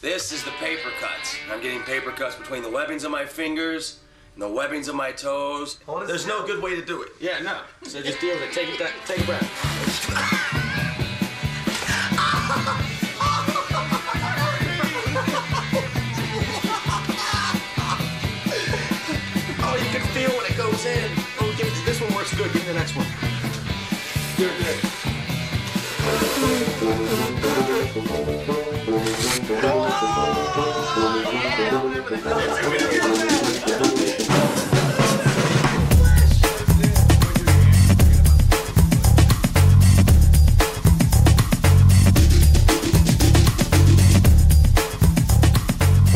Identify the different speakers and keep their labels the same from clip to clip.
Speaker 1: This is the paper cuts. I'm getting paper cuts between the webbings of my fingers and the webbings of my toes. There's no good way to do it.
Speaker 2: Yeah, no. So just deal with it. Take it back. Take a breath. oh, you can feel when it goes in. Oh, give me this one works good. Give me the next one. Good, good.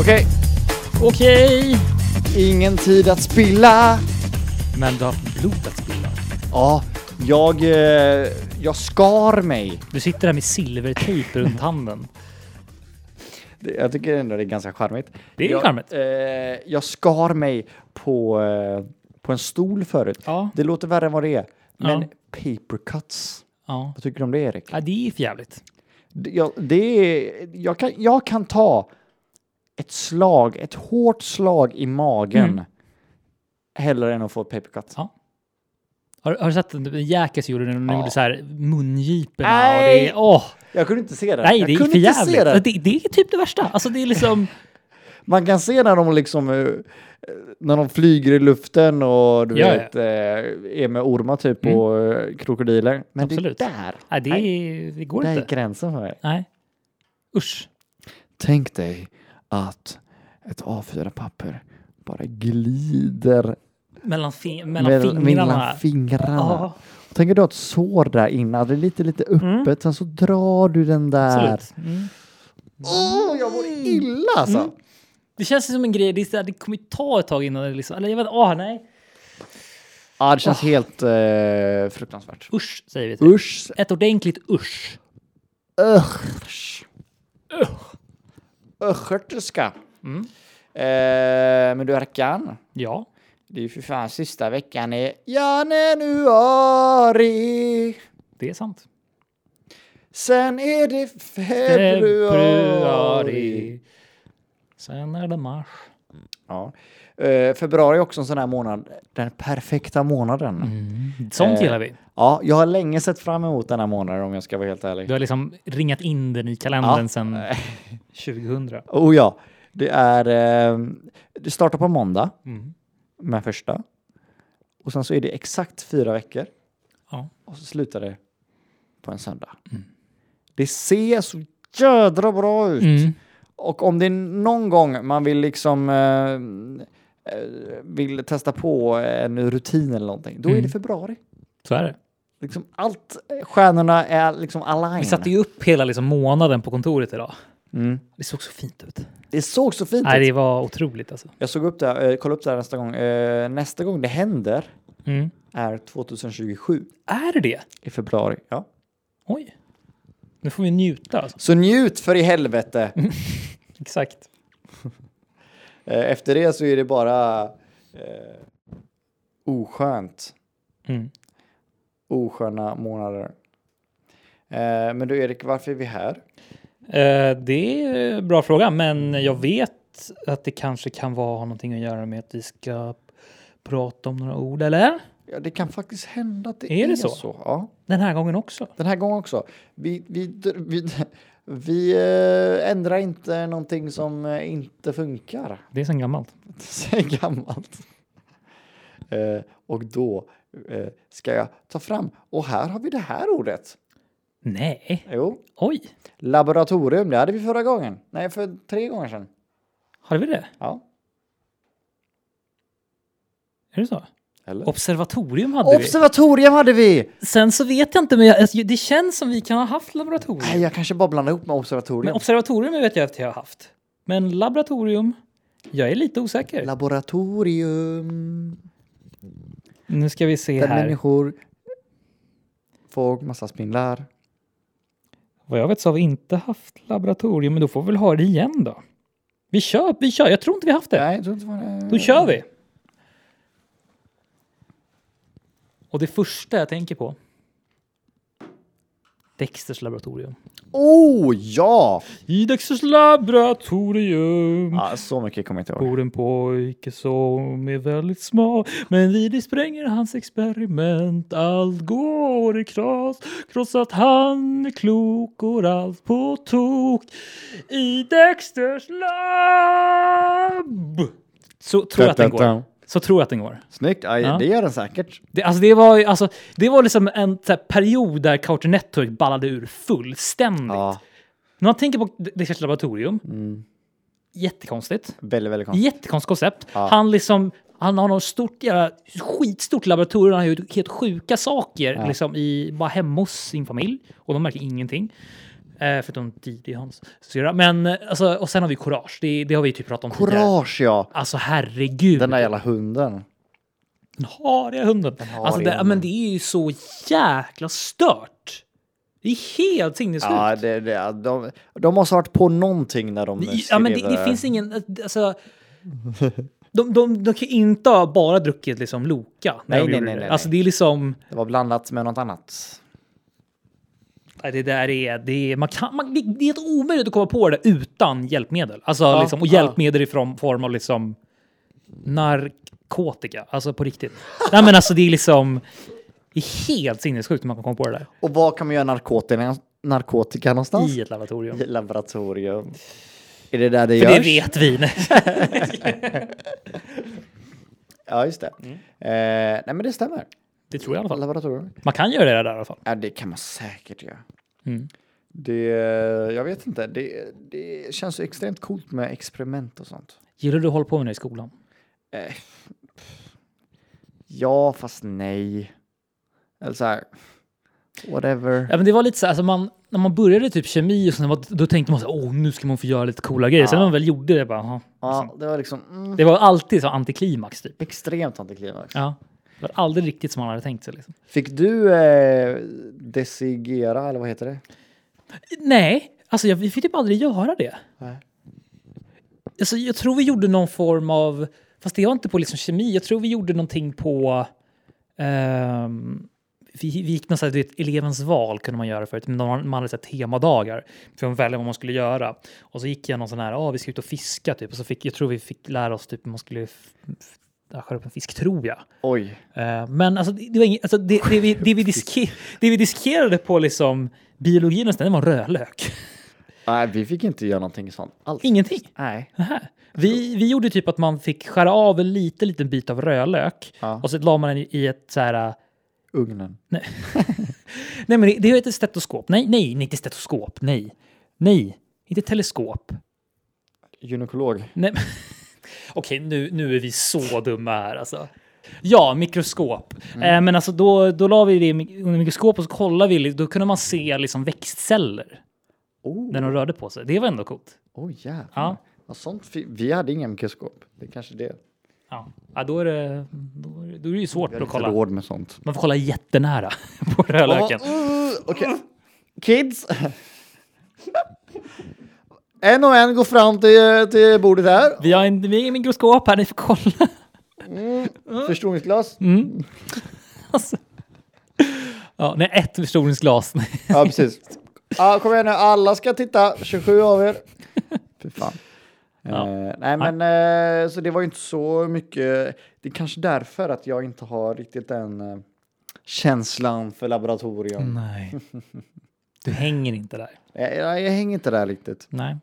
Speaker 3: Okej.
Speaker 4: Okej, ingen tid att spilla.
Speaker 3: Men du har haft blod att spilla.
Speaker 4: Ja, jag, eh, jag skar mig.
Speaker 3: Du sitter där med silvertejp runt handen.
Speaker 4: Det- Jag tycker ändå det är ganska charmigt.
Speaker 3: Det är
Speaker 4: jag,
Speaker 3: charmigt.
Speaker 4: Eh, jag skar mig på, eh, på en stol förut.
Speaker 3: Ja.
Speaker 4: Det låter värre än vad det är. Men
Speaker 3: Ja.
Speaker 4: paper cuts.
Speaker 3: Ja.
Speaker 4: Vad tycker du om det Erik?
Speaker 3: ja, det är för jävligt.
Speaker 4: D- Jag, det är, jag, kan, jag kan ta ett slag, ett hårt slag i magen
Speaker 3: Mm.
Speaker 4: hellre än att få ett paper cut.
Speaker 3: Har, har du sett den- den Jackass gjorde när de
Speaker 4: Ja.
Speaker 3: gjorde så här mungiporna?
Speaker 4: Nej.
Speaker 3: Och det, åh,
Speaker 4: Jag kunde inte se det.
Speaker 3: nej,
Speaker 4: jag
Speaker 3: det är
Speaker 4: kunde
Speaker 3: för
Speaker 4: inte se
Speaker 3: jävligt.
Speaker 4: det.
Speaker 3: Det. Det, är typ det värsta. Alltså det är liksom...
Speaker 4: Man kan se när de liksom eh, när de flyger i luften och du
Speaker 3: Ja, ja.
Speaker 4: vet eh, är med ormar typ och eh, krokodiler. Men
Speaker 3: Absolut.
Speaker 4: det där,
Speaker 3: Nej, det, är, det går
Speaker 4: där är
Speaker 3: inte.
Speaker 4: gränsen för mig.
Speaker 3: Nej. Usch.
Speaker 4: Tänk dig att ett A4-papper bara glider
Speaker 3: Mellan, fi- mellan
Speaker 4: mellan
Speaker 3: fingrarna.
Speaker 4: mellan fingrarna.
Speaker 3: Ja, Mm.
Speaker 4: Tänk att du har ett sår där innan, det är lite, lite öppet, sen så drar du den där.
Speaker 3: absolut. Mm.
Speaker 4: Åh, jag mår illa alltså!
Speaker 3: Det känns som en grej, det, är så här, det kommer ju ta ett tag innan det liksom... Eller jag vet åh nej.
Speaker 4: Ja, det känns helt eh, fruktansvärt.
Speaker 3: Usch, säger vi. till.
Speaker 4: Usch!
Speaker 3: Ett ordentligt usch.
Speaker 4: Usch! Östgöterska. Eh, men du Erkan,
Speaker 3: Ja.
Speaker 4: det är ju för fan sista veckan i januari.
Speaker 3: Det är sant.
Speaker 4: Sen är det februari.
Speaker 3: Sen är det mars.
Speaker 4: Ja. Eh, februari är också en sån här månad, den perfekta månaden.
Speaker 3: Sånt
Speaker 4: Eh,
Speaker 3: gillar vi.
Speaker 4: Ja, jag har länge sett fram emot den här månaden om jag ska vara helt ärlig.
Speaker 3: Du har liksom ringat in den i kalendern
Speaker 4: Ja.
Speaker 3: sedan 2000.
Speaker 4: Oh ja, det är... Eh, det startar på måndag
Speaker 3: Mm.
Speaker 4: med första. Och sen så är det exakt fyra veckor
Speaker 3: Ja.
Speaker 4: och så slutar det på en söndag. Det ser så jädra bra ut.
Speaker 3: Mm.
Speaker 4: Och om det är någon gång man vill liksom eh, eh, vill testa på en rutin eller någonting, då är
Speaker 3: Mm.
Speaker 4: det februari.
Speaker 3: Så är det.
Speaker 4: Liksom allt, stjärnorna är liksom
Speaker 3: Vi
Speaker 4: aligned.
Speaker 3: satte ju upp hela liksom månaden på kontoret idag.
Speaker 4: Mm.
Speaker 3: Det såg så fint ut.
Speaker 4: Det såg så fint
Speaker 3: Nej,
Speaker 4: ut.
Speaker 3: det var otroligt alltså.
Speaker 4: Jag såg upp det, här, eh, kolla upp det här nästa gång. Eh, nästa gång det händer
Speaker 3: Mm.
Speaker 4: är 2027
Speaker 3: Är det det?
Speaker 4: i februari. Ja.
Speaker 3: Oj. Nu får vi njuta alltså.
Speaker 4: Så njut för i helvete!
Speaker 3: Exakt.
Speaker 4: Eh, Efter det så är det bara eh, oskönt.
Speaker 3: Mm.
Speaker 4: Osköna månader. Eh, men du Erik, varför är vi här?
Speaker 3: Eh, det är en bra fråga, men jag vet att det kanske kan vara, ha någonting att göra med att vi ska prata om några ord, eller?
Speaker 4: Ja, det kan faktiskt hända att det
Speaker 3: Är
Speaker 4: är,
Speaker 3: det så?
Speaker 4: så. Ja.
Speaker 3: Den här gången också.
Speaker 4: Den här gången också. Vi, vi, vi, vi, eh, ändrar inte någonting som eh, inte funkar.
Speaker 3: Det är sen gammalt.
Speaker 4: sen gammalt. Eh, och då eh, ska jag ta fram, och här har vi det här ordet.
Speaker 3: Nej.
Speaker 4: Jo,
Speaker 3: Oj.
Speaker 4: laboratorium, det hade vi förra gången. Nej, för tre gånger sedan.
Speaker 3: Har vi det?
Speaker 4: Ja,
Speaker 3: Är det så?
Speaker 4: eller?
Speaker 3: Observatorium hade
Speaker 4: Observatorium hade vi!
Speaker 3: vi. Sen så vet jag inte, men jag, alltså, det känns som vi kan ha haft laboratorium.
Speaker 4: Nej, jag kanske bara blandade ihop med
Speaker 3: Men
Speaker 4: observatorium.
Speaker 3: observatorium vet jag att jag har haft. Men laboratorium? Jag är lite osäker.
Speaker 4: laboratorium,
Speaker 3: nu ska vi se
Speaker 4: där
Speaker 3: här.
Speaker 4: människor får massa spindlar.
Speaker 3: Vad jag vet så har vi inte haft laboratorium, men då får vi väl ha det igen då. Vi kör, vi kör. Jag tror inte vi har haft det.
Speaker 4: Nej, jag tror inte det var
Speaker 3: Då
Speaker 4: det.
Speaker 3: kör vi! Och det första jag tänker på Dexters laboratorium.
Speaker 4: Oh ja!
Speaker 3: I Dexters laboratorium
Speaker 4: ja! Så mycket kommer jag inte ihåg.
Speaker 3: bor en pojke som är väldigt smal. Men vi det spränger hans experiment. Allt går i kras. Trots att han är klok går allt på tok. I Dexters labb! Så tror jag att den går. Så tror jag att den går.
Speaker 4: Snyggt, Aj,
Speaker 3: Ja.
Speaker 4: det gör den säkert.
Speaker 3: Det, alltså det, var, ju- alltså, det var liksom en så här, period där Cartoon Network ballade ur fullständigt.
Speaker 4: Ja, Mm.
Speaker 3: När man tänker på Dexters laboratorium, jättekonstigt.
Speaker 4: väldigt, väldigt konstigt.
Speaker 3: Jättekonstigt koncept.
Speaker 4: Ja.
Speaker 3: Han, liksom, han har något stort, jävla, skitstort laboratorium. Han har gjort helt sjuka saker liksom, i, bara hemma hos sin familj. Och de märker ingenting. Eh, förutom Didi, hans syrra. Men eh, alltså, och sen har vi Courage. Det, det har vi ju typ pratat om tidigare.
Speaker 4: Courage ja!
Speaker 3: Alltså herregud.
Speaker 4: Den där jävla hunden.
Speaker 3: Den hariga hunden.
Speaker 4: hariga
Speaker 3: alltså, det,
Speaker 4: hunden.
Speaker 3: men det är ju så jäkla stört. Det är helt sinnessjukt.
Speaker 4: Ja, det, det, ja, de, de måste ha varit på någonting när de
Speaker 3: I- Ja,
Speaker 4: skrev eh,
Speaker 3: men det, det finns ingen... Alltså, de, de, de kan ju inte ha bara druckit liksom Loka. när
Speaker 4: Nej,
Speaker 3: de
Speaker 4: nej,
Speaker 3: gjorde
Speaker 4: nej,
Speaker 3: det.
Speaker 4: nej,
Speaker 3: Alltså
Speaker 4: nej.
Speaker 3: det är liksom...
Speaker 4: Det var blandat med något annat.
Speaker 3: nej, Det där är... Det är, man kan, man, det, det är helt omöjligt att komma på det utan hjälpmedel. Alltså,
Speaker 4: Ja,
Speaker 3: liksom, och
Speaker 4: ja.
Speaker 3: hjälpmedel i form, form av liksom narkotika. Alltså på riktigt. nej men alltså det är liksom... Det är helt sinnessjukt hur man kan komma på det där.
Speaker 4: Och var kan man göra narkotika, narkotika någonstans?
Speaker 3: I ett laboratorium.
Speaker 4: I laboratorium. Är det där det
Speaker 3: För det
Speaker 4: görs?
Speaker 3: vet vi. nej.
Speaker 4: Ja, just det. Eh, nej, men det stämmer.
Speaker 3: Det tror jag Mm. i alla fall.
Speaker 4: Laboratorium.
Speaker 3: Man kan göra det där i alla fall.
Speaker 4: Ja, det kan man säkert göra.
Speaker 3: Mm.
Speaker 4: Det, jag vet inte, det, det känns ju extremt coolt med experiment och sånt.
Speaker 3: Gillar du att hålla på med det i skolan?
Speaker 4: Eh, pff. ja, fast nej. Eller så här, whatever.
Speaker 3: Ja, men det var lite så här, alltså man, när man började typ kemi och sånt, då tänkte man så här, åh, nu ska man få göra lite coola grejer. Sen när man väl gjorde det, bara, aha.
Speaker 4: Ja, det var liksom mm,
Speaker 3: Det var alltid så antiklimax typ.
Speaker 4: extremt antiklimax.
Speaker 3: Ja. Det var aldrig riktigt som man hade tänkt sig. Liksom.
Speaker 4: Fick du eh, desigera, eller vad heter det?
Speaker 3: Nej, alltså jag, vi fick typ aldrig göra det.
Speaker 4: Nej.
Speaker 3: Alltså, jag tror vi gjorde någon form av, fast det var inte på liksom kemi, jag tror vi gjorde någonting på, ehm, vi, vi gick någon så här, du vet, elevens val kunde man göra förut, men man man hade så här, temadagar för att välja vad man skulle göra. Och så gick jag någon sån här, ah, vi ska ut och fiska typ, och så fick, jag tror vi fick lära oss typ hur man skulle f- f- skära upp en fisk, tror jag.
Speaker 4: Oj.
Speaker 3: Eh, Men alltså, det, det, var inget, alltså, det, det, vi, det, vi diske, det vi diskerade på liksom, biologin nästan, det var rödlök.
Speaker 4: Nej, vi fick inte göra någonting sånt alls.
Speaker 3: Ingenting.
Speaker 4: Nej.
Speaker 3: Vi, vi gjorde typ att man fick skära av en liten, liten bit av rödlök
Speaker 4: Ja.
Speaker 3: och så la man den i- i ett så här... eh,
Speaker 4: Ugnen.
Speaker 3: Nej, men det, det heter stetoskop. Nej, nej, nej, inte stetoskop. Nej, nej, inte teleskop.
Speaker 4: Gynekolog.
Speaker 3: Nej. men- Okej, nu, nu är vi så dumma här alltså. Ja, mikroskop. Eh, men alltså då, då la vi det i mik- under mikroskop och så kollade vi. Då kunde man se liksom växtceller
Speaker 4: Oh,
Speaker 3: när de rörde på sig. Det var ändå coolt.
Speaker 4: oh jävlar.
Speaker 3: Ja.
Speaker 4: Ja, sånt, fi- vi hade inga mikroskop. Det är kanske det.
Speaker 3: Ja, ja då, är det, då, är det, då är det ju svårt
Speaker 4: Jag är
Speaker 3: att
Speaker 4: lite
Speaker 3: kolla.
Speaker 4: råd med sånt.
Speaker 3: Man får kolla jättenära på rödlöken.
Speaker 4: Oh, Okej. Kids. en och en går fram till, till bordet här.
Speaker 3: Vi har en vi har en mikroskop här, ni får kolla.
Speaker 4: Mm. Förstoringsglas.
Speaker 3: Alltså. Ja, nej, ett förstoringsglas.
Speaker 4: Ja, precis. Ja, kom igen nu, alla ska titta. 27 av er. Fy fan.
Speaker 3: Ja.
Speaker 4: Eh, nej, men eh, så det var ju inte så mycket. Det är kanske därför att jag inte har riktigt den eh, känslan för laboratorium.
Speaker 3: Nej. Du hänger inte där.
Speaker 4: Jag, jag, jag hänger inte där riktigt.
Speaker 3: Nej.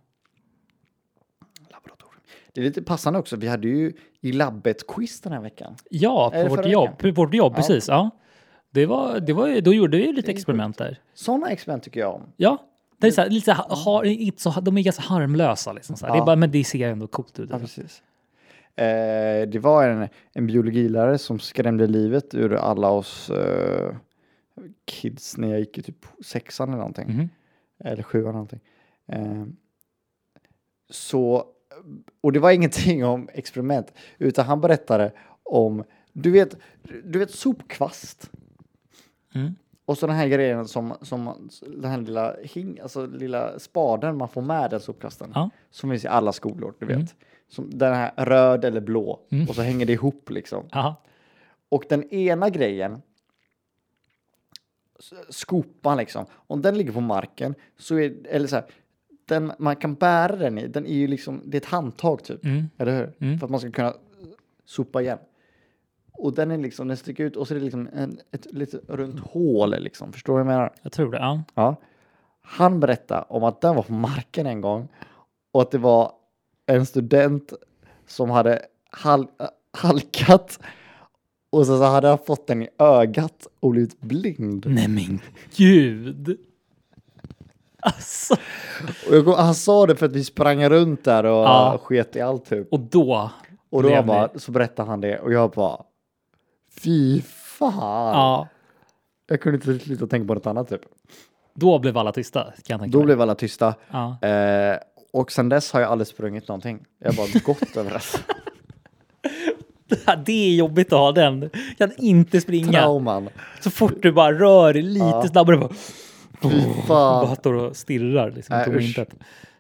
Speaker 4: Laboratorium. Det är lite passande också. Vi hade ju i labbet quiz den här veckan.
Speaker 3: Ja,
Speaker 4: Är
Speaker 3: på
Speaker 4: det
Speaker 3: vårt
Speaker 4: förra
Speaker 3: jobb.
Speaker 4: veckan?
Speaker 3: På vårt jobb,
Speaker 4: Ja.
Speaker 3: precis. Ja. Det var, det var, ju- då gjorde vi lite
Speaker 4: sjukt.
Speaker 3: experiment där.
Speaker 4: Sådana experiment tycker jag om.
Speaker 3: Ja. Det är så här, lite så här, har, inte så, de är ganska harmlösa. Liksom, så här. Det
Speaker 4: Ja.
Speaker 3: är bara, men det ser ändå coolt ut.
Speaker 4: Ja, precis. Eh, det var en, en biologilärare som skrämde livet ur alla oss eh, kids när jag gick i typ sexan eller någonting.
Speaker 3: Mhm.
Speaker 4: Eller sjuan eller någonting. Eh, så, och det var ingenting om experiment, utan han berättade om, du vet, du vet sopkvast.
Speaker 3: Mm.
Speaker 4: Och så den här grejen som, som den här lilla, hing, alltså lilla spaden man får med den sopkvasten
Speaker 3: Ja.
Speaker 4: som finns i alla skolor, du vet.
Speaker 3: Mm.
Speaker 4: Som den här röd eller blå och så hänger det ihop liksom.
Speaker 3: Aha.
Speaker 4: Och den ena grejen s- skopan liksom. Om den ligger på marken så är eller så här, den man kan bära den i, den är ju liksom, det är ett handtag typ, eller hur? För att man ska kunna sopa igen. Och den är liksom, den sticker ut och så är det liksom en, ett litet runt hål liksom, förstår du vad jag menar?
Speaker 3: Jag tror det. Ja.
Speaker 4: Ja. Han berättade om att den var på marken en gång och att det var en student som hade hal- äh, halkat och sen så hade han fått den i ögat och blivit blind.
Speaker 3: Nej men gud. Alltså.
Speaker 4: Och jag, kom- han sa det för att vi sprang runt där och
Speaker 3: Ja.
Speaker 4: sket i allt typ.
Speaker 3: Och då.
Speaker 4: Och då
Speaker 3: blev
Speaker 4: bara,
Speaker 3: ni-
Speaker 4: så berättade han det och jag bara fy fan.
Speaker 3: Ja.
Speaker 4: Jag kunde inte sluta tänka på något annat typ.
Speaker 3: Då blev alla tysta kan jag tänka
Speaker 4: Då
Speaker 3: mig.
Speaker 4: blev alla tysta.
Speaker 3: Ja.
Speaker 4: Eh, och sen dess har jag aldrig sprungit någonting. Jag har bara gått överallt.
Speaker 3: Det är jobbigt att ha den. Jag kan inte springa.
Speaker 4: Trauman.
Speaker 3: Så fort du bara rör dig lite snabbare. Bara,
Speaker 4: Fy
Speaker 3: bara
Speaker 4: fan.
Speaker 3: står och stirrar liksom.
Speaker 4: Nej,
Speaker 3: Äh,
Speaker 4: usch.
Speaker 3: intet.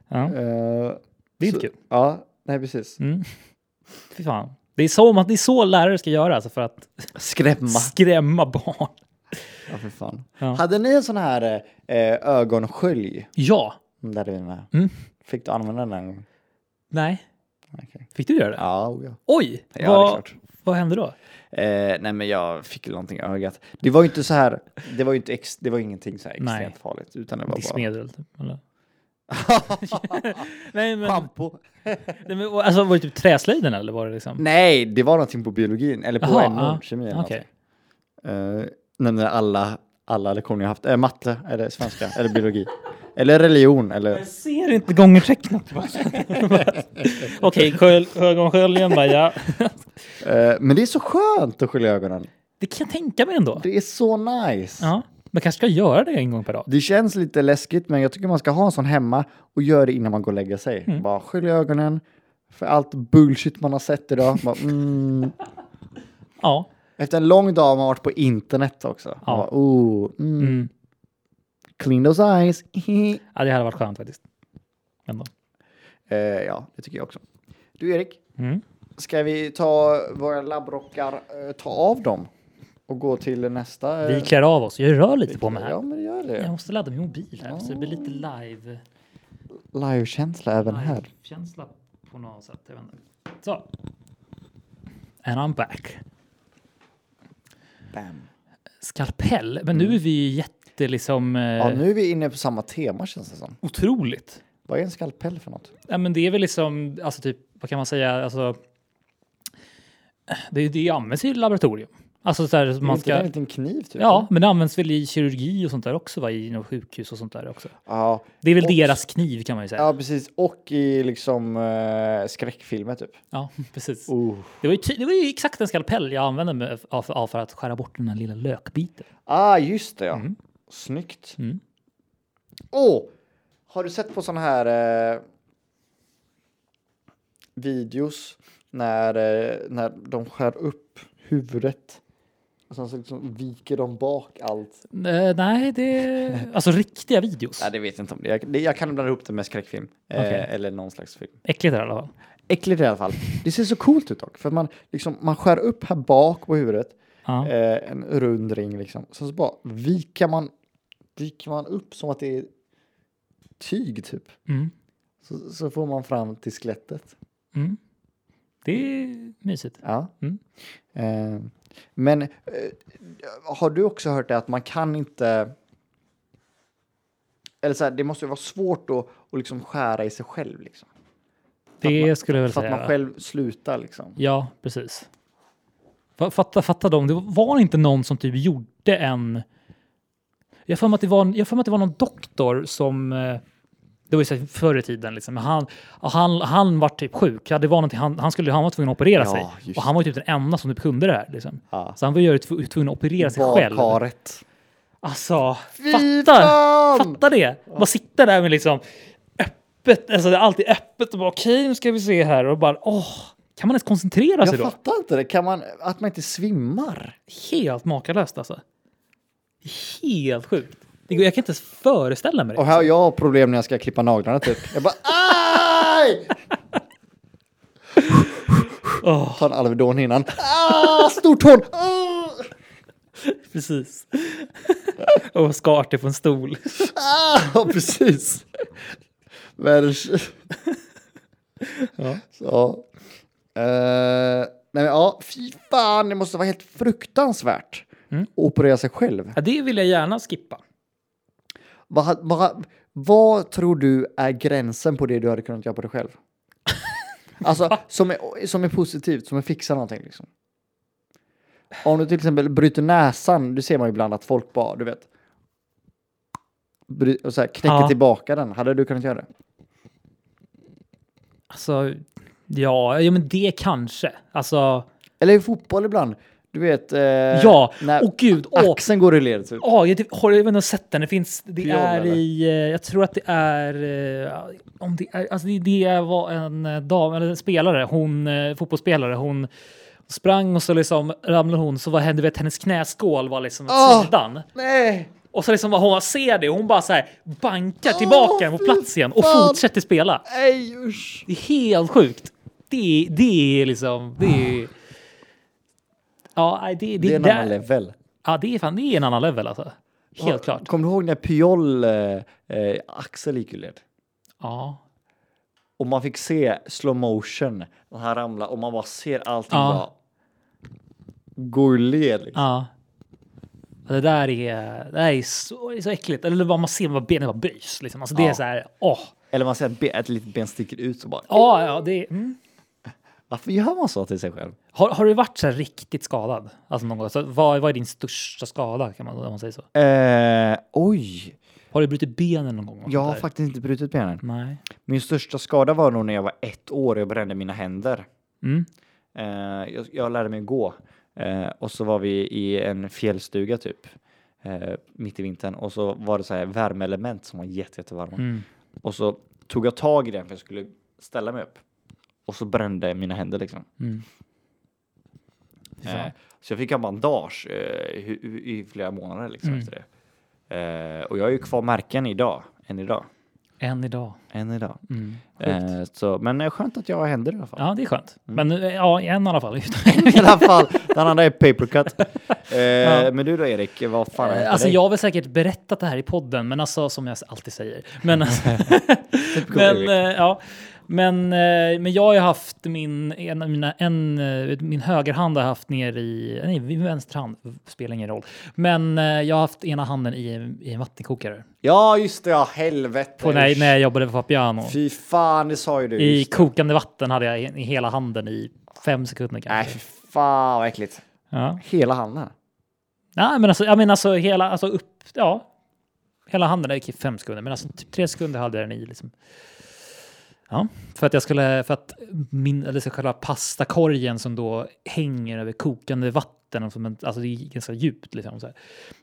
Speaker 3: Ja.
Speaker 4: Eh,
Speaker 3: Det är
Speaker 4: så-
Speaker 3: inte kul.
Speaker 4: Ja, nej precis.
Speaker 3: Mm. Fy fan. Det är, så man, det är så lärare ska göra alltså, för att
Speaker 4: Skrämma.
Speaker 3: skrämma barn.
Speaker 4: Ja, för fan.
Speaker 3: Ja.
Speaker 4: Hade ni en sån här eh, eh, ögonskölj?
Speaker 3: Ja.
Speaker 4: Där vi med.
Speaker 3: Mm.
Speaker 4: Fick du använda den? en gång?
Speaker 3: Nej.
Speaker 4: Okej.
Speaker 3: Fick du göra det?
Speaker 4: Ja, oh, ja.
Speaker 3: Oj!
Speaker 4: Ja, det är
Speaker 3: vad,
Speaker 4: klart.
Speaker 3: vad hände då?
Speaker 4: Eh, nej men jag fick ju någonting i ögat. Det var ju inte så här, det var ju inte ex, det var ingenting så här
Speaker 3: Nej.
Speaker 4: extremt farligt. Utan det var bara...
Speaker 3: Diskmedel? Typ, eller? nej, men,
Speaker 4: Shampoo.
Speaker 3: nej, men alltså, var det typ träslöjden eller var det liksom?
Speaker 4: Nej, det var någonting på biologin, eller på NO,
Speaker 3: Jaha, ja.
Speaker 4: Mm. H&M kemi eller
Speaker 3: Okej.
Speaker 4: någonting. Eh, när- när alla, alla lektioner jag haft, eh, matte, eller svenska, eller biologi. Eller religion, eller...
Speaker 3: Ser inte gångertecknet. Okej, sköl- ögonsköljen bara ja.
Speaker 4: Eh, men det är så skönt att skölja ögonen.
Speaker 3: Det kan jag tänka mig ändå.
Speaker 4: Det är så nice.
Speaker 3: Ja. Man kanske ska göra det en gång per dag.
Speaker 4: Det känns lite läskigt, men jag tycker man ska ha en sån hemma och göra det innan man går och lägger sig.
Speaker 3: Mm.
Speaker 4: Bara skölja ögonen för allt bullshit man har sett idag. Bara, mm.
Speaker 3: Ja.
Speaker 4: Efter en lång dag har man varit på internet också. Man Bara, oh, mm.
Speaker 3: Mm.
Speaker 4: Clean those eyes.
Speaker 3: ja, det hade varit skönt faktiskt. Ändå.
Speaker 4: Eh, ja, det tycker jag också. Du Erik,
Speaker 3: Mm.
Speaker 4: ska vi ta våra labbrockar, eh, ta av dem och gå till nästa? eh,
Speaker 3: Vi klär av oss. Jag rör lite på mig här.
Speaker 4: Ja, men gör
Speaker 3: Jag
Speaker 4: det.
Speaker 3: måste ladda min mobil här så det blir lite live.
Speaker 4: Livekänsla även här.
Speaker 3: Känsla på något sätt. Jag vet inte. Så. And I'm back.
Speaker 4: Bam.
Speaker 3: Skalpell. Men nu är vi ju jätte liksom. Eh,
Speaker 4: Mm. Ja, nu är vi inne på samma tema känns det som.
Speaker 3: Otroligt.
Speaker 4: Vad är en skalpell för något?
Speaker 3: Ja, men det är väl liksom, alltså typ, vad kan man säga, alltså. Det, det används i laboratorium. Alltså så här, man
Speaker 4: Man ska...
Speaker 3: ska.
Speaker 4: En liten kniv typ?
Speaker 3: Ja, men det används väl i kirurgi och sånt där också, va? i inom sjukhus och sånt där också.
Speaker 4: Ja,
Speaker 3: Det är väl
Speaker 4: Och-
Speaker 3: deras kniv kan man ju säga. Ja,
Speaker 4: ja precis. Och i liksom eh, skräckfilmer typ.
Speaker 3: precis.
Speaker 4: Oh.
Speaker 3: Det, var ju ty- det var ju exakt en skalpell jag använde med, av, av för att skära bort den här lilla lökbiten.
Speaker 4: Ah, just det ja. Snyggt. Åh!
Speaker 3: Mhm. Mm.
Speaker 4: Oh, har du sett på sådana här eh, videos när, eh, när de skär upp huvudet och sen så liksom viker de bak allt?
Speaker 3: Eh, nej, det... Alltså riktiga videos.
Speaker 4: Nej, det vet jag inte om det. Jag, det, jag kan blanda ihop det med skräckfilm eh,
Speaker 3: Okej.
Speaker 4: eller någon slags film.
Speaker 3: Äckligt i alla fall.
Speaker 4: Äckligt i alla fall. Det ser så coolt ut dock, för man, liksom, man skär upp här bak på huvudet
Speaker 3: Ja.
Speaker 4: eh, en rund ring liksom. Sen så bara viker man, viker man upp som att det är tyg typ.
Speaker 3: Mm.
Speaker 4: Så, så får man fram till skelettet.
Speaker 3: Mm. Det är mysigt.
Speaker 4: Ja.
Speaker 3: Mm.
Speaker 4: Eh, men eh, har du också hört det att man kan inte... Eller så här, det måste ju vara svårt då att liksom skära i sig själv. Liksom.
Speaker 3: Det
Speaker 4: man-
Speaker 3: skulle jag väl
Speaker 4: För att
Speaker 3: säga.
Speaker 4: man själv slutar liksom.
Speaker 3: Ja, precis. Fa- Fatta, fatta dem. Det var inte någon som typ gjorde en... Jag har för mig att det var, en- jag har för mig att det var någon doktor som... eh, Det var ju så här förr i tiden. Liksom. men Han, han, han var typ sjuk. Ja, det var någonting, han, han, skulle, han var tvungen att operera
Speaker 4: Ja,
Speaker 3: sig.
Speaker 4: just
Speaker 3: Och han var ju typ den enda som typ kunde det här. Liksom.
Speaker 4: Ja.
Speaker 3: Så han var ju tv- tvungen att operera sig själv.
Speaker 4: Badkaret.
Speaker 3: Alltså,
Speaker 4: Fy
Speaker 3: fatta,
Speaker 4: fan!
Speaker 3: fatta det! Bara sitta där med liksom öppet, alltså det är alltid öppet och bara okej, nu ska vi se här och bara åh, kan man ens koncentrera sig
Speaker 4: Jag
Speaker 3: då?
Speaker 4: fattar inte det. Kan man, att man inte svimmar?
Speaker 3: Helt makalöst alltså. Helt sjukt. Det går- Jag kan inte ens föreställa mig det.
Speaker 4: Och här har jag problem när jag ska klippa naglarna typ. Jag bara aj! Ta en Alvedon innan. Ah, stortån! Ah!
Speaker 3: Precis. och skar till på en stol.
Speaker 4: Ah, precis. Världens...
Speaker 3: Ja.
Speaker 4: Så. Eh, nej men ja, fy fan, det måste vara helt fruktansvärt att operera sig själv.
Speaker 3: Ja, det vill jag gärna skippa.
Speaker 4: Vad, vad, vad tror du är gränsen på det du hade kunnat göra på dig själv? Alltså, som är, som är positivt, som är fixa någonting liksom. Om du till exempel bryter näsan, det ser man ju ibland att folk bara, du vet, bry, och så här, knäcker
Speaker 3: Ja.
Speaker 4: tillbaka den. Hade du kunnat göra det?
Speaker 3: Alltså, ja, ja men det kanske. Alltså,
Speaker 4: Eller i fotboll ibland. Du vet, eh,
Speaker 3: ja.
Speaker 4: när
Speaker 3: Åh gud, åh.
Speaker 4: axeln går i led. Typ.
Speaker 3: Ja, jag, typ- har, jag vet inte om jag har sett den. Det finns, det
Speaker 4: Pion,
Speaker 3: är
Speaker 4: eller?
Speaker 3: i, eh, jag tror att det är, eh, om det är, alltså det, det var en eh, dam, eller en spelare, hon, eh, fotbollsspelare, hon sprang och så liksom ramlade hon, så vad hände, du vet hennes knäskål var liksom åt
Speaker 4: Ah!
Speaker 3: sidan.
Speaker 4: Nej!
Speaker 3: Och så liksom vad hon ser det, och hon bara så här bankar tillbaka
Speaker 4: Åh,
Speaker 3: på
Speaker 4: fy
Speaker 3: plats igen och
Speaker 4: fan.
Speaker 3: fortsätter spela.
Speaker 4: Nej, usch!
Speaker 3: Det är helt sjukt. Det, är- det är liksom, det är... Ja, nej, det, det,
Speaker 4: Det är en
Speaker 3: där-
Speaker 4: annan level.
Speaker 3: Ja, det är fan, det är en annan level alltså. Helt klart.
Speaker 4: Kommer du ihåg när Pjol eh, eh, axel gick i led?
Speaker 3: Ja.
Speaker 4: Och man fick se slow motion när han ramlade och man bara ser allting
Speaker 3: Ja.
Speaker 4: bara gå ur led. Liksom.
Speaker 3: Ja. Ja, Det där är, det där är så, det är så äckligt. Eller vad man ser, vad benen bara böjs. Liksom. Alltså, det är
Speaker 4: Ja.
Speaker 3: så här, åh.
Speaker 4: Eller man ser att be- ett litet ben sticker ut och bara
Speaker 3: Ja, ja, det är, mm.
Speaker 4: varför gör man så till sig själv?
Speaker 3: har, har du varit så här riktigt skadad? Alltså någon gång? Så, vad, vad är din största skada kan man, om man säger så?
Speaker 4: Eh, oj,
Speaker 3: Har du brutit benen någon gång?
Speaker 4: jag har
Speaker 3: Där?
Speaker 4: faktiskt inte brutit benen.
Speaker 3: Nej.
Speaker 4: Min största skada var nog när jag var ett år och jag brände mina händer.
Speaker 3: Mm.
Speaker 4: Eh, jag, jag lärde mig gå eh, och så var vi i en fjällstuga typ eh, mitt i vintern och så var det så här värmeelement som var jätte, jättevarma
Speaker 3: Mm.
Speaker 4: och så tog jag tag i den för jag skulle ställa mig upp och så brände mina händer liksom.
Speaker 3: Mm. Fy fan.
Speaker 4: Eh, så jag fick en bandage eh, i, i, i flera månader liksom
Speaker 3: Mm.
Speaker 4: efter det. Eh, och jag har ju kvar märken idag, än idag.
Speaker 3: Än idag.
Speaker 4: Än idag.
Speaker 3: Mm.
Speaker 4: Eh, så, men eh, skönt att jag har händer i alla fall.
Speaker 3: Ja, det är skönt. Men eh, ja, en i alla fall. Alltså,
Speaker 4: I alla fall, den andra är papercut. Eh, Men du då Erik, vad fan är
Speaker 3: Alltså jag har väl säkert berättat det här i podden, men alltså som jag alltid säger. Men, alltså, men,
Speaker 4: Erik.
Speaker 3: eh, ja, men, eh, men jag har ju haft min, en, av mina, en, eh, min högerhand har jag haft ner i, nej min vänsterhand spelar ingen roll. Men eh, jag har haft ena handen i, en- i en vattenkokare.
Speaker 4: Ja just det, ja helvete.
Speaker 3: På, när,
Speaker 4: usch.
Speaker 3: när jag jobbade på Fabiano.
Speaker 4: Fy fan, det sa ju du.
Speaker 3: I
Speaker 4: just det.
Speaker 3: kokande vatten hade jag i, i hela handen i fem sekunder
Speaker 4: Nej
Speaker 3: kanske.
Speaker 4: fy fan vad äckligt.
Speaker 3: Ja.
Speaker 4: Hela handen.
Speaker 3: Nej, men alltså, jag menar alltså hela, alltså upp, ja. Hela handen, det gick i fem sekunder, men alltså typ tre sekunder hade jag den i liksom. Ja, för att jag skulle, för att min, eller så själva pastakorgen som då hänger över kokande vatten, och som en- alltså det är ganska djupt liksom. Så här.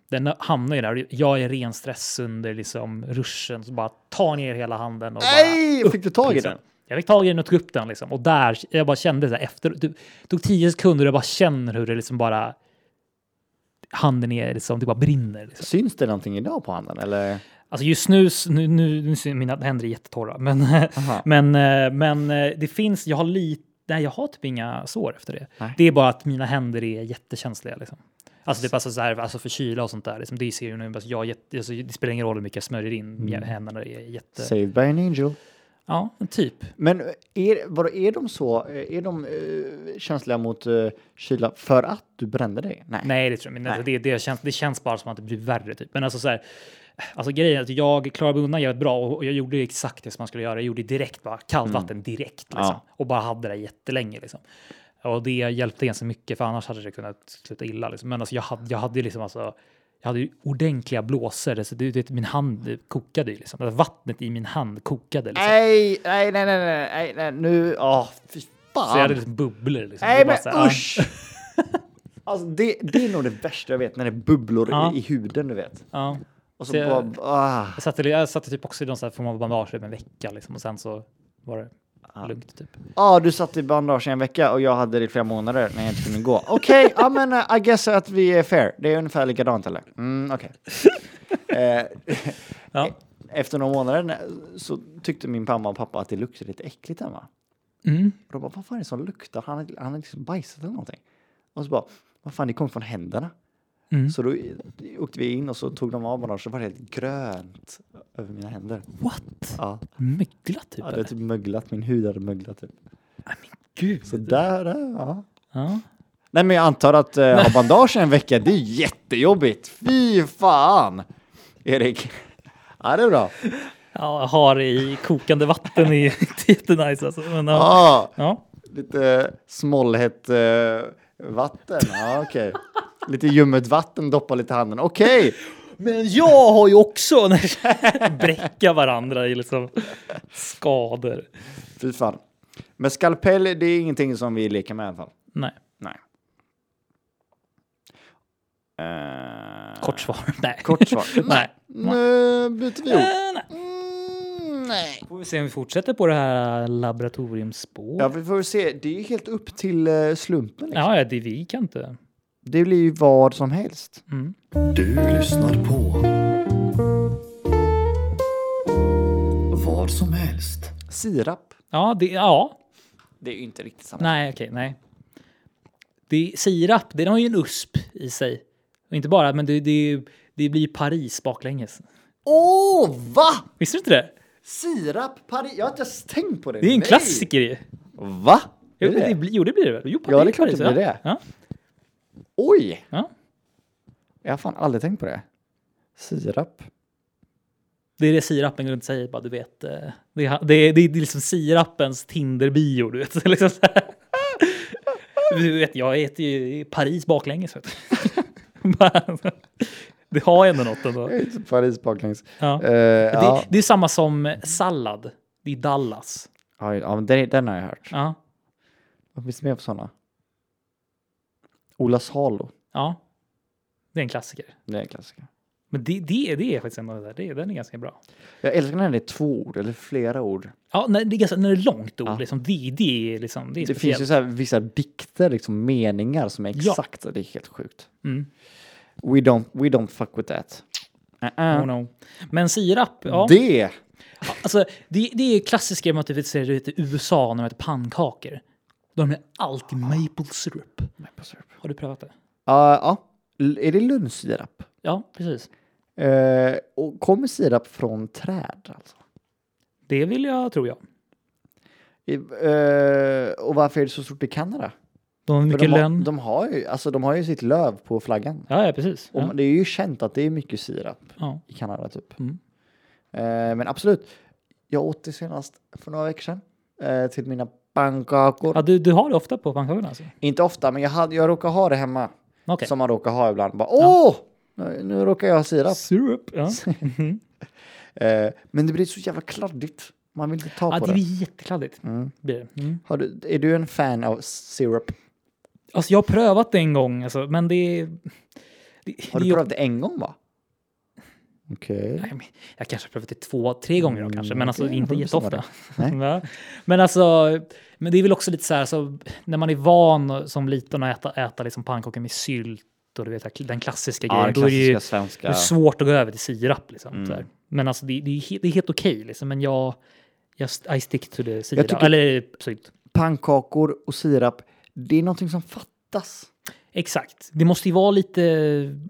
Speaker 3: Den hamnar ju där, och jag är ren stress under liksom ruschen, så bara tar ner hela handen och bara
Speaker 4: Nej, fick du tag i
Speaker 3: liksom.
Speaker 4: den?
Speaker 3: Jag fick tag i den och tog upp den liksom. Och där, jag bara kände så här, efter, det tog tio sekunder och jag bara känner hur det liksom bara handen är liksom, det bara brinner. Liksom.
Speaker 4: Syns det någonting idag på handen eller?
Speaker 3: Alltså just nu, s- nu, nu, nu ser mina händer är jättetorra, men, men, eh, men eh, det finns, jag har lite, nej jag har typ inga sår efter det.
Speaker 4: Nej.
Speaker 3: Det är bara att mina händer är jättekänsliga liksom. Alltså det passar så här, alltså för kyla och sånt där. Liksom, det ser ju nu, alltså jag, är jätte- alltså, det spelar ingen roll hur mycket jag smörjer in, händerna är jätte...
Speaker 4: Saved by an angel.
Speaker 3: Ja, typ.
Speaker 4: Men är, vadå, är de så, är de eh, känsliga mot eh, kyla för att du brände dig? Nej.
Speaker 3: Nej, det tror jag inte. Alltså, det, det, känns, det känns bara som att det blir värre. Typ. Men alltså, så här, alltså grejen är att jag klarade mig undan jävligt bra och och jag gjorde exakt det som man skulle göra. Jag gjorde direkt bara kallt vatten direkt liksom,
Speaker 4: Mm. Ja.
Speaker 3: och bara hade det jättelänge. Liksom. Och det hjälpte ganska mycket för annars hade det kunnat sluta illa. Liksom. Men alltså, jag hade, jag hade liksom alltså, jag hade ju ordentliga blåsor. Så det, det, min hand eh, kokade ju. Liksom. Alltså, vattnet i min hand kokade. Liksom.
Speaker 4: Nej, nej, nej, nej, nej, nej, nej, nu, åh, fy fan.
Speaker 3: Så jag hade liksom bubblor. Liksom. Det
Speaker 4: Nej
Speaker 3: var
Speaker 4: men
Speaker 3: så här, ah.
Speaker 4: usch! Alltså det, det är nog det värsta jag vet, när det är bubblor
Speaker 3: Ja.
Speaker 4: i, i huden du vet.
Speaker 3: Ja.
Speaker 4: Och så
Speaker 3: Det-
Speaker 4: bara, ah,
Speaker 3: Jag satte, jag satte typ också i någon sån här form av bandage i en vecka liksom, och sen så var det lugnt. Typ.
Speaker 4: ah, du satt i bandage i en vecka och jag hade det i flera månader när jag inte kunde gå. Okej, ja men eh, I guess att vi är fair. Det är ungefär likadant eller? Mm, okej. Eh,
Speaker 3: Ja.
Speaker 4: Efter några månader när- så tyckte min mamma och pappa att det luktade lite äckligt hemma.
Speaker 3: Mm.
Speaker 4: Och de bara, vad fan är det som luktar? Han har han har liksom bajsat eller någonting. Och så bara, vad fan det kom från händerna. Så då åkte vi in och så tog de av bandaget så var det helt grönt över mina händer.
Speaker 3: What?
Speaker 4: Ja,
Speaker 3: Mögla typ?
Speaker 4: jag
Speaker 3: eller?
Speaker 4: hade typ möglat, min hud hade möglat typ.
Speaker 3: Nej, men gud.
Speaker 4: Så där, där, ja.
Speaker 3: Ja.
Speaker 4: Nej men jag antar att eh, ha bandage en vecka, det är jättejobbigt. Fy fan! Erik. Ja det är bra.
Speaker 3: ja, jag har i kokande vatten är inte jättenice alltså. Men, ja.
Speaker 4: Ah,
Speaker 3: Ja.
Speaker 4: lite smollhett eh, vatten. Ja okej. Lite ljummet vatten, doppa lite handen. Okej!
Speaker 3: Men jag har ju också bräcka varandra i liksom skador.
Speaker 4: Fy fan. Men skalpell, det är ingenting som vi leker med i alla fall.
Speaker 3: Nej,
Speaker 4: Nej. Eh,
Speaker 3: kort svar. Nej.
Speaker 4: Kort svar.
Speaker 3: Nej.
Speaker 4: Nu byter vi ord.
Speaker 3: Eh, nej.
Speaker 4: Mm, nej.
Speaker 3: Får vi se om vi fortsätter på det här laboratoriumspåret.
Speaker 4: Ja,
Speaker 3: Ja,
Speaker 4: vi får se. Det är ju helt upp till eh, slumpen. Liksom.
Speaker 3: ja, det vi kan inte.
Speaker 4: Det blir ju vad som helst.
Speaker 3: Mm.
Speaker 5: Du lyssnar på vad som helst.
Speaker 4: Sirap.
Speaker 3: Ja, det, ja.
Speaker 4: Det är ju inte riktigt samma.
Speaker 3: nej, okej, nej. Det, sirap, den har ju en USP i sig. Och inte bara, men det, det, det blir Paris baklänges.
Speaker 4: Åh, va?
Speaker 3: Visste du inte det?
Speaker 4: Sirap Paris. Jag har inte ens tänkt på det.
Speaker 3: Det är en
Speaker 4: Nej.
Speaker 3: klassiker ju.
Speaker 4: Va?
Speaker 3: Jo,
Speaker 4: Är det
Speaker 3: det,
Speaker 4: det?
Speaker 3: blir- jo, det blir det väl? Jo,
Speaker 4: Ja, det är klart det blir
Speaker 3: ja.
Speaker 4: det.
Speaker 3: Ja,
Speaker 4: Oj!
Speaker 3: ja.
Speaker 4: Jag har fan aldrig tänkt på det. Sirap.
Speaker 3: Det är det sirapen går runt och säger, bara, du vet. eh, Det är, det är, det är liksom sirapens Tinder-bio, du vet. Liksom så här. du vet, jag äter ju i Paris baklänges. Vet du. Bara, det har ändå något ändå.
Speaker 4: Jag är inte Paris baklänges.
Speaker 3: Ja.
Speaker 4: Eh, ja.
Speaker 3: Det, det är samma som sallad. Det är Dallas.
Speaker 4: Ja, ja, men den, den har jag hört.
Speaker 3: Ja,
Speaker 4: Vad finns det mer för sådana? Ola Salo.
Speaker 3: ja. det är en klassiker.
Speaker 4: Det är en klassiker.
Speaker 3: Men det, det, det är faktiskt en av de där. Det, den är ganska bra.
Speaker 4: Jag älskar när det är två ord eller flera ord.
Speaker 3: Ja, när det är, ganska, när det är långt ord,
Speaker 4: Ja.
Speaker 3: liksom, det, det är liksom... Det,
Speaker 4: Det
Speaker 3: är
Speaker 4: finns
Speaker 3: speciellt.
Speaker 4: ju så här vissa dikter, liksom meningar som är
Speaker 3: Ja.
Speaker 4: exakt. Det är helt sjukt.
Speaker 3: Mm.
Speaker 4: We don't, we don't fuck with that. Uh-uh.
Speaker 3: Oh no. Men sirap, ja.
Speaker 4: Det!
Speaker 3: Alltså, det, det är klassiskt grej man typ ser det ute i USA när man äter pannkakor. De är alltid maple syrup. Har du prövat det?
Speaker 4: Ja, ja. L- är det lundsirap?
Speaker 3: Ja, precis.
Speaker 4: Eh, och kommer sirap från träd alltså?
Speaker 3: Det vill jag, tror jag.
Speaker 4: I, eh, och varför är det så stort i Kanada?
Speaker 3: De har
Speaker 4: För
Speaker 3: mycket
Speaker 4: de, har,
Speaker 3: lön.
Speaker 4: de, har ju, alltså, de har ju sitt löv på flaggan.
Speaker 3: Ja, ja, precis.
Speaker 4: Och
Speaker 3: Ja,
Speaker 4: Det är ju känt att det är mycket sirap.
Speaker 3: ja.
Speaker 4: i Kanada typ.
Speaker 3: Mm.
Speaker 4: Eh, men absolut, jag åt det senast för några veckor sedan eh, till mina pannkakor.
Speaker 3: ja du, du har det ofta på pannkakorna alltså?
Speaker 4: Inte ofta, men jag, hade, jag råkar ha det hemma.
Speaker 3: Okej.
Speaker 4: Som man råkar ha ibland. Bara, Åh! Nu, nu råkar jag ha sirap.
Speaker 3: Syrup, ja.
Speaker 4: Eh, men det blir så jävla kladdigt. Man vill inte ta
Speaker 3: ja
Speaker 4: på
Speaker 3: det
Speaker 4: det.
Speaker 3: blir jättekladdigt. Blir det. Mm.
Speaker 4: Har du, är du en fan av sirap?
Speaker 3: Alltså, jag har prövat det en gång, alltså, men det... det
Speaker 4: Har
Speaker 3: det,
Speaker 4: du
Speaker 3: är-
Speaker 4: provat det en gång va? Okej.
Speaker 3: Nej, men jag kanske har prövat det två, tre gånger då kanske, men alltså
Speaker 4: Mm, okej,
Speaker 3: inte
Speaker 4: då får du
Speaker 3: jätteofta.
Speaker 4: det.
Speaker 3: Va? men alltså, men det är väl också lite så här, så, när man är van som liten att äta, äta liksom pannkakor med sylt och du vet den klassiska grejen, då är det ju det
Speaker 4: svenska.
Speaker 3: är svårt att gå över till sirap. Liksom,
Speaker 4: Mm.
Speaker 3: så här. Men alltså det, det, är, he- det är helt okej, liksom, men jag, jag st- I stick to the sirap,
Speaker 4: tycker-
Speaker 3: eller sylt.
Speaker 4: Pannkakor och sirap, det är någonting som fattas.
Speaker 3: Exakt, det måste ju vara lite...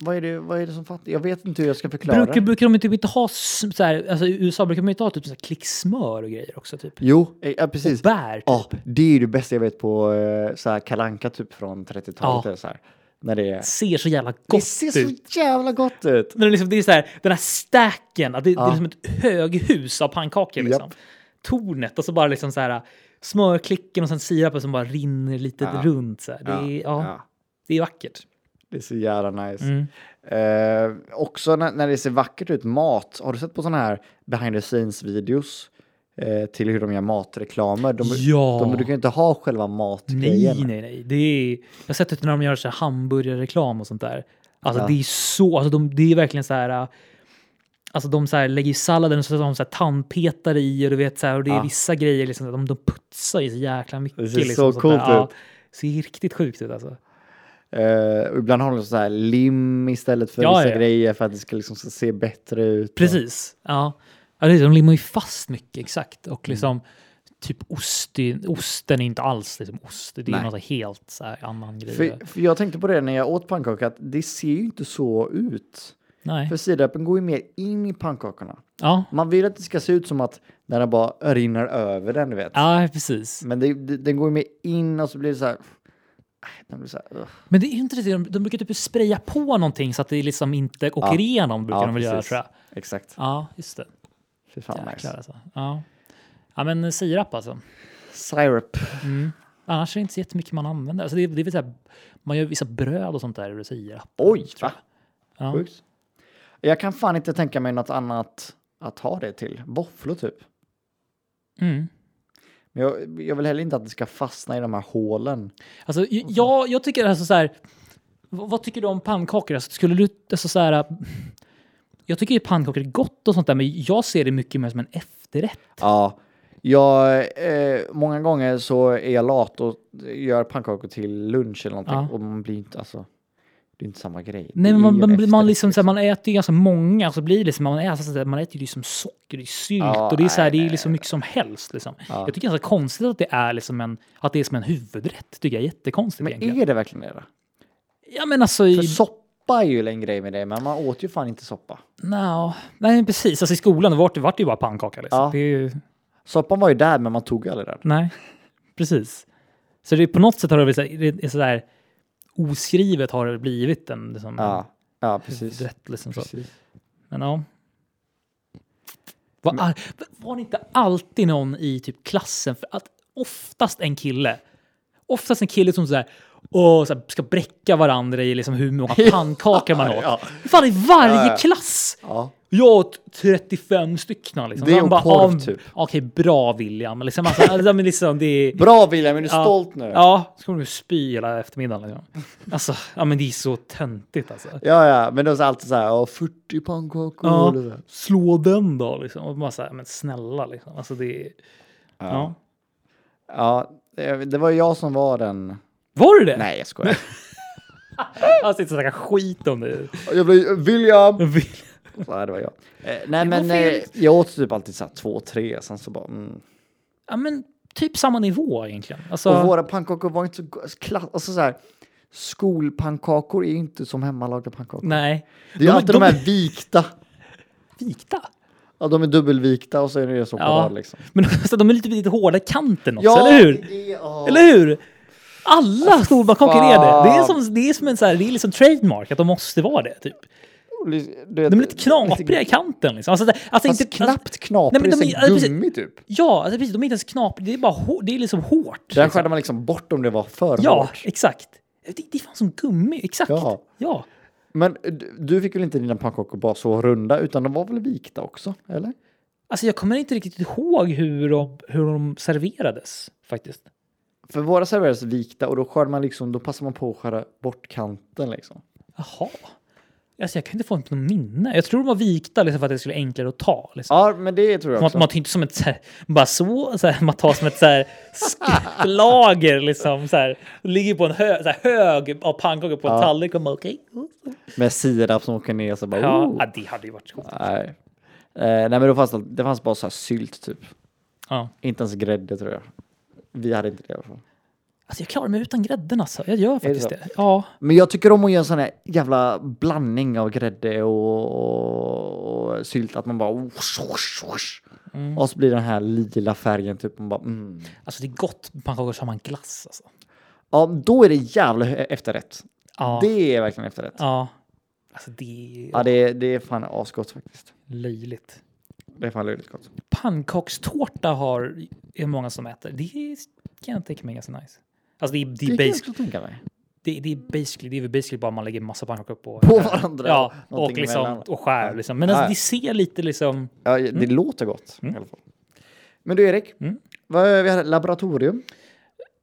Speaker 4: Vad är det, vad är det som fattas? Jag vet inte hur jag ska förklara.
Speaker 3: Brukar, brukar de typ inte ha, s- så här, alltså i USA brukar man ju inte ha typ så här klicksmör och grejer också, typ.
Speaker 4: Jo, eh, ja, precis.
Speaker 3: Bär, typ.
Speaker 4: Ja, det är ju det bästa jag vet på eh, så här kalanka typ från 30-talet.
Speaker 3: Ja.
Speaker 4: eller Så här, när det, är.
Speaker 3: ser så jävla
Speaker 4: det
Speaker 3: gott
Speaker 4: ser
Speaker 3: ut.
Speaker 4: så jävla gott ut.
Speaker 3: Men det, är liksom, det är så här, den här stacken, att det, det
Speaker 4: Ja.
Speaker 3: är liksom ett höghus av pannkakor. Liksom.
Speaker 4: Japp.
Speaker 3: Tornet och så bara liksom så här, smörklicken och sen sirapen som bara rinner lite
Speaker 4: Ja.
Speaker 3: runt. Så här. Det, är, ja, det är vackert.
Speaker 4: Det är så jävla nice.
Speaker 3: Mm.
Speaker 4: Eh, också när, när det ser vackert ut, mat. Har du sett på sådana här behind the scenes videos? eh, till hur de gör matreklamer. De,
Speaker 3: Ja.
Speaker 4: de brukar ju inte ha själva
Speaker 3: Nej,
Speaker 4: matgrejen.
Speaker 3: nej, nej. Det är, jag har sett det när de gör så här hamburgerreklam och sånt där. Alltså
Speaker 4: Ja.
Speaker 3: det är så, alltså de, det är verkligen så här. äh, Alltså de så här lägger i salladen och så har de så här tandpetare i och du vet så här och det är
Speaker 4: Ja.
Speaker 3: vissa grejer liksom. att De, de putsar ju så jäkla mycket.
Speaker 4: Det ser så
Speaker 3: liksom, sånt där.
Speaker 4: coolt
Speaker 3: Ja,
Speaker 4: ut.
Speaker 3: ser riktigt sjukt ut alltså.
Speaker 4: Eh, och ibland har de så här lim istället för
Speaker 3: Ja,
Speaker 4: vissa
Speaker 3: ja.
Speaker 4: grejer för att det ska liksom se bättre ut. Mm.
Speaker 3: Precis. Ja. ja det är, de limmar ju fast mycket, exakt. Och liksom typ ost, i- osten är inte alls liksom ost. Det är
Speaker 4: Nej.
Speaker 3: något helt så här, annan grej.
Speaker 4: För, för jag tänkte på det när jag åt pannkaka, att det ser ju inte så ut.
Speaker 3: Nej.
Speaker 4: För sidapen går ju mer in i pannkakorna.
Speaker 3: Ja.
Speaker 4: Man vill att det ska se ut som att den här bara rinner över den, du vet.
Speaker 3: ja, precis.
Speaker 4: Men det, det, den går ju mer in och så blir det så här... äh, Den blir så här ugh.
Speaker 3: Men det är ju inte det. De, de brukar typ spraya på någonting så att det liksom inte åker igenom. Brukar de väl göra
Speaker 4: precis.
Speaker 3: tror jag.
Speaker 4: Exakt.
Speaker 3: Ja, just det.
Speaker 4: Fy fan,
Speaker 3: Jäklar
Speaker 4: nice.
Speaker 3: alltså. Ja. ja, men sirap alltså.
Speaker 4: Syrup.
Speaker 3: Annars är det inte så jättemycket man använder. Alltså det, är- det är väl så här, man gör vissa bröd och sånt där ur sirap.
Speaker 4: Oj, va?
Speaker 3: Ja.
Speaker 4: Sjukt. Jag kan fan inte tänka mig något annat att ha det till. Våfflor typ.
Speaker 3: Mm.
Speaker 4: Men jag, jag vill heller inte att det ska fastna i de här hålen.
Speaker 3: Alltså, j-
Speaker 4: Mm.
Speaker 3: jag, jag tycker alltså så här. v- Vad tycker du om pannkakor? Alltså, skulle du, alltså så här, äh, jag tycker ju pannkakor är gott och sånt där, men jag ser det mycket mer som en efterrätt.
Speaker 4: Ja. Jag, eh, många gånger så är jag lat och gör pannkakor till lunch eller någonting.
Speaker 3: Ja.
Speaker 4: Och man blir inte, alltså, det är inte samma grej.
Speaker 3: Nej,
Speaker 4: Det
Speaker 3: men
Speaker 4: är ju
Speaker 3: man,
Speaker 4: en
Speaker 3: man, blir- man,
Speaker 4: efterrätt,
Speaker 3: liksom, så här, man äter ju ganska många och så blir det liksom, man äter, så här, man äter ju liksom socker, det är sylt
Speaker 4: Ja,
Speaker 3: och det är, så här, det
Speaker 4: nej,
Speaker 3: är liksom mycket som helst. Liksom.
Speaker 4: Ja.
Speaker 3: Jag tycker det är ganska konstigt att det är, liksom en, att det är som en huvudrätt. tycker jag är jättekonstigt
Speaker 4: Men
Speaker 3: egentligen.
Speaker 4: är det verkligen det? då?
Speaker 3: Ja, men alltså,
Speaker 4: För
Speaker 3: i,
Speaker 4: soppa är ju en grej med det, men man åt ju fan inte soppa.
Speaker 3: nja, nej, men precis. Alltså, I skolan då vart det, vart det ju bara pannkaka. Liksom.
Speaker 4: Ja.
Speaker 3: Det är ju,
Speaker 4: Soppan var ju där, men man tog ju aldrig den.
Speaker 3: Nej, precis. Så det, är- på något sätt har det blivit sådär oskrivet har det blivit en liksom,
Speaker 4: Ja, ja precis.
Speaker 3: rätt. Liksom, så.
Speaker 4: precis.
Speaker 3: Men ja. Var, ar- var det inte alltid någon i typ klassen, för att oftast en kille, oftast en kille som sådär, och så här, ska bräcka varandra i liksom hur många pannkakor man åt.
Speaker 4: Ja.
Speaker 3: Fan, i varje
Speaker 4: Ja, ja.
Speaker 3: klass!
Speaker 4: Ja.
Speaker 3: Jag åt 35 stycken. Liksom.
Speaker 4: Det är
Speaker 3: Man
Speaker 4: en
Speaker 3: bara,
Speaker 4: korv,
Speaker 3: ja,
Speaker 4: typ.
Speaker 3: Okej, bra William. Liksom, alltså, alltså, men liksom, det är,
Speaker 4: Bra William, är du stolt nu?
Speaker 3: Ja, så kommer du spy hela eftermiddagen. Liksom. Alltså, ja men det är så töntigt alltså.
Speaker 4: Ja, ja, men det var alltid så här, "Ja, 40 pannkakor.
Speaker 3: Ja,
Speaker 4: eller så här.
Speaker 3: slå den då liksom. Och man säger, men snälla liksom. Alltså det är... Ja.
Speaker 4: Ja, det det var ju jag som var den.
Speaker 3: Var du det?
Speaker 4: Nej, jag skojar.
Speaker 3: Alltså inte snacka skit om det.
Speaker 4: jag blev William!
Speaker 3: Vill-
Speaker 4: Ja, det var jag. Eh, nej,
Speaker 3: var
Speaker 4: men
Speaker 3: fel.
Speaker 4: eh, jag åt typ alltid så här två, tre, sen så bara... Mm.
Speaker 3: Ja men typ samma nivå egentligen. Alltså,
Speaker 4: Och våra pannkakor var inte så... go- Klass, alltså så här, skolpannkakor är ju inte som hemmalagda pannkakor.
Speaker 3: Nej.
Speaker 4: Det är ju alltid de, här vikta.
Speaker 3: Vikta.
Speaker 4: Ja, de är dubbelvikta och så är det så på
Speaker 3: Ja.
Speaker 4: rad liksom.
Speaker 3: Men alltså, de är lite, lite hårda i kanten också, eller hur?
Speaker 4: det är- ja.
Speaker 3: Eller hur? Alla storbankocker är det. Det är
Speaker 4: fan.
Speaker 3: som, det är som en så här, det är liksom trademark att de måste vara det. Typ.
Speaker 4: Du vet,
Speaker 3: De är lite knapriga i kanten. Liksom. Alltså, det- alltså,
Speaker 4: Fast
Speaker 3: inte,
Speaker 4: knappt
Speaker 3: Alltså,
Speaker 4: knapriga,
Speaker 3: Nej, men
Speaker 4: det
Speaker 3: de är-
Speaker 4: är så
Speaker 3: alltså, precis.
Speaker 4: gummi typ.
Speaker 3: ja, alltså, precis. De är inte ens knapriga. Det är bara hår, det är liksom hårt.
Speaker 4: Där
Speaker 3: liksom.
Speaker 4: skärde man liksom bort om det var för
Speaker 3: Ja,
Speaker 4: hårt.
Speaker 3: exakt. Det, det är fan som gummi. Exakt. Ja.
Speaker 4: Ja. Men du- du fick väl inte dina pannkakor bara så runda, utan de var väl vikta också? Eller?
Speaker 3: Alltså, jag kommer inte riktigt ihåg hur de, hur de serverades faktiskt.
Speaker 4: För våra serverades vikta och då skär man liksom, då passar man på att skära bort kanten liksom.
Speaker 3: Jaha. Alltså, jag kan inte få något minne. Jag tror de var vikta liksom, för att det skulle vara enklare att ta. Liksom.
Speaker 4: Ja, men det tror jag
Speaker 3: Man,
Speaker 4: också.
Speaker 3: man tar inte som ett så här, bara så, så här, man tar som ett så här sk- lager liksom så här, och ligger på en hö, så här, hög av pannkakor på en
Speaker 4: Ja.
Speaker 3: tallrik och bara okej.
Speaker 4: Med sirap som åker ner så bara
Speaker 3: Ja,
Speaker 4: oh.
Speaker 3: ja, det hade ju varit gott.
Speaker 4: Nej. Eh, nej, men då fanns det, det fanns bara så här sylt typ.
Speaker 3: Ja.
Speaker 4: Inte ens grädde tror jag. Vi hade inte det i alla fall.
Speaker 3: Alltså jag klarar mig utan grädden alltså. Jag gör faktiskt
Speaker 4: så?
Speaker 3: det. Ja.
Speaker 4: Men jag tycker om att göra en sån här jävla blandning av grädde och, och, och sylt. Att man bara...
Speaker 3: Mm.
Speaker 4: Och så blir den här lila färgen typ. Man bara, mm.
Speaker 3: Alltså det är gott med pannkakor som man glass alltså.
Speaker 4: Ja, då är det jävla hö- efterrätt.
Speaker 3: Ja.
Speaker 4: Det är verkligen efterrätt. Ja,
Speaker 3: Ja. Alltså det är
Speaker 4: det, är, det är fan asgott faktiskt.
Speaker 3: löjligt.
Speaker 4: Det är fan löjligt gott.
Speaker 3: Pannkakstårta har är många som äter. Det är- kan jag tänka mig är ganska nice. Alltså det är, det
Speaker 4: Det
Speaker 3: är,
Speaker 4: kan jag
Speaker 3: basic,
Speaker 4: också tänka mig.
Speaker 3: det, det är basically, det är väl basically bara man lägger massa pannkakor på,
Speaker 4: På varandra.
Speaker 3: Ja, och,
Speaker 4: någonting
Speaker 3: liksom,
Speaker 4: emellan.
Speaker 3: och skär liksom. Men alltså,
Speaker 4: Ja.
Speaker 3: det ser lite liksom...
Speaker 4: Ja, det låter gott
Speaker 3: Mm.
Speaker 4: i alla fall. Men du Erik, vad, vi hade laboratorium.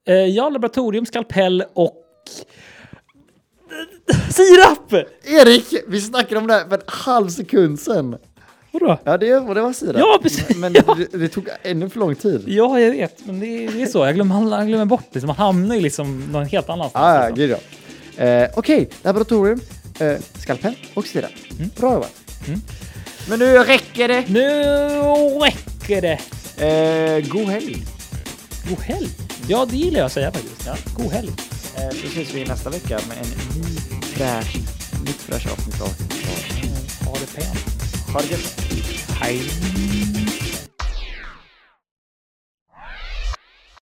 Speaker 3: Eh, ja, laboratorium, skalpell och... Sirap!
Speaker 4: Erik, vi snackade om det här för en halv sekund sedan.
Speaker 3: Vadå?
Speaker 4: Ja, det, och det var sirap.
Speaker 3: Ja, precis,
Speaker 4: Men
Speaker 3: ja.
Speaker 4: Det, det tog ännu för lång tid.
Speaker 3: Ja, jag vet. Men det, det är så. Jag glömmer, jag glömmer bort det. Man hamnar ju liksom någon helt annanstans.
Speaker 4: Ah, ja,
Speaker 3: liksom.
Speaker 4: gud ja. Eh, Okej, laboratorium, eh, skalpell och sirap.
Speaker 3: Mm.
Speaker 4: Bra jobbat. Men nu räcker det.
Speaker 3: Nu räcker det!
Speaker 4: Eh, god helg.
Speaker 3: God helg! Ja, det gillar jag att säga faktiskt.
Speaker 4: Ja.
Speaker 3: God helg!
Speaker 4: Eh, så ses vi nästa vecka med en ny fräsch, nytt fräsch avsnitt av
Speaker 3: Ha det pent.
Speaker 4: Ha det gött!
Speaker 3: Hej!